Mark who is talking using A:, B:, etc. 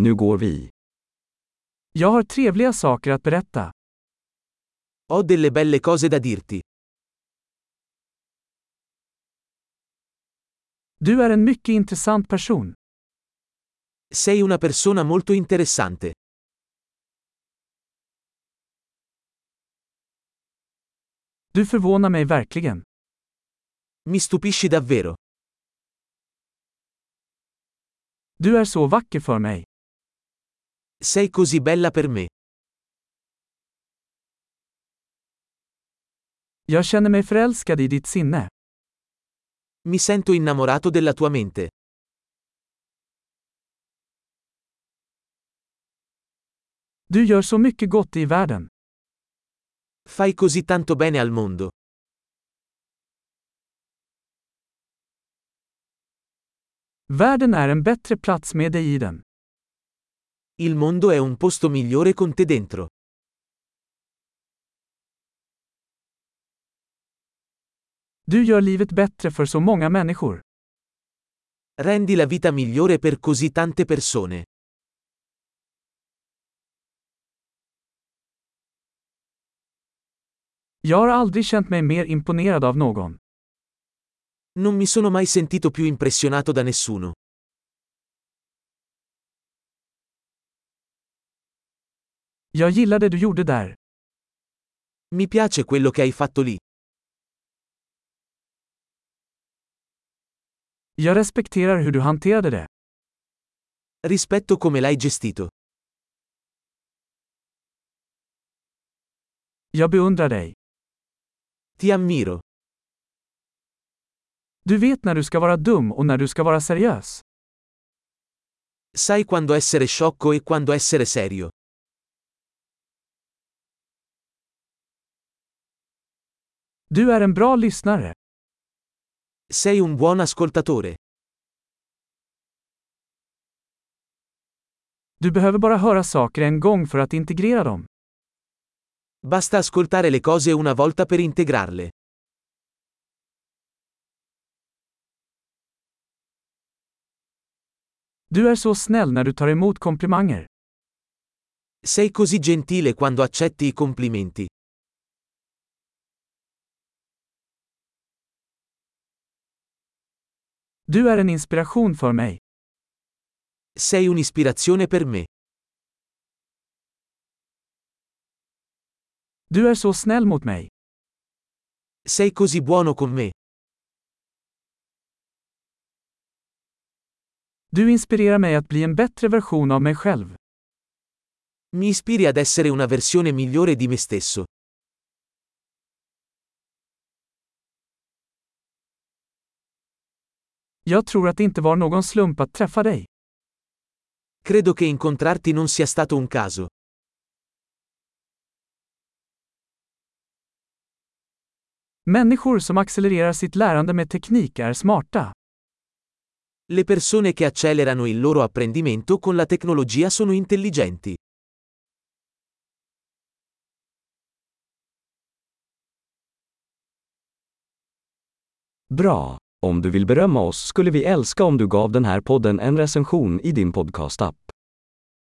A: Nu går vi.
B: Jag har trevliga saker att berätta.
C: Ho delle belle cose da dirti.
B: Du är en mycket intressant person.
C: Sei una persona molto interessante.
B: Du förvånar mig verkligen.
C: Mi stupisci davvero.
B: Du är så vacker för mig.
C: Sei così bella per me.
B: Jag känner mig förälskad i ditt sinne.
C: Mi sento innamorato della tua mente.
B: Du gör så mycket gott i världen.
C: Fai così tanto bene al mondo.
B: Världen är en bättre plats med dig i den.
C: Il mondo è un posto migliore con te dentro.
B: Du gör livet bättre för så många människor.
C: Rendi la vita migliore per così tante persone.
B: Jag har aldrig känt mig mer imponerad av någon.
C: Non mi sono mai sentito più impressionato da nessuno.
B: Jag gillar det du gjorde där.
C: Mi piace quello che hai fatto lì.
B: Jag respekterar hur du hanterade det.
C: Rispetto come l'hai gestito.
B: Jag beundrar dig.
C: Ti ammiro.
B: Du vet när du ska vara dum och när du ska vara seriös.
C: Sai quando essere sciocco e quando essere serio.
B: Du är en bra lyssnare.
C: Sei un buon ascoltatore.
B: Du behöver bara höra saker en gång för att integrera dem.
C: Basta ascoltare le cose una volta per integrarle.
B: Du är så snäll när du tar emot komplimanger.
C: Sei così gentile quando accetti i complimenti.
B: Du är en inspiration för mig.
C: Sei un'ispirazione per me.
B: Du är så snäll mot mig.
C: Sei così buono con me.
B: Du inspirerar mig att bli en bättre version av mig själv.
C: Mi ispiri ad essere una versione migliore di me stesso.
B: Jag tror att det inte var någon slump att träffa dig.
C: Credo che incontrarti non sia stato un caso.
B: Människor som accelererar sitt lärande med teknik är smarta.
C: Le persone che accelerano il loro apprendimento con la tecnologia sono intelligenti.
A: Bra! Om du vill berömma oss skulle vi älska om du gav den här podden en recension i din podcastapp.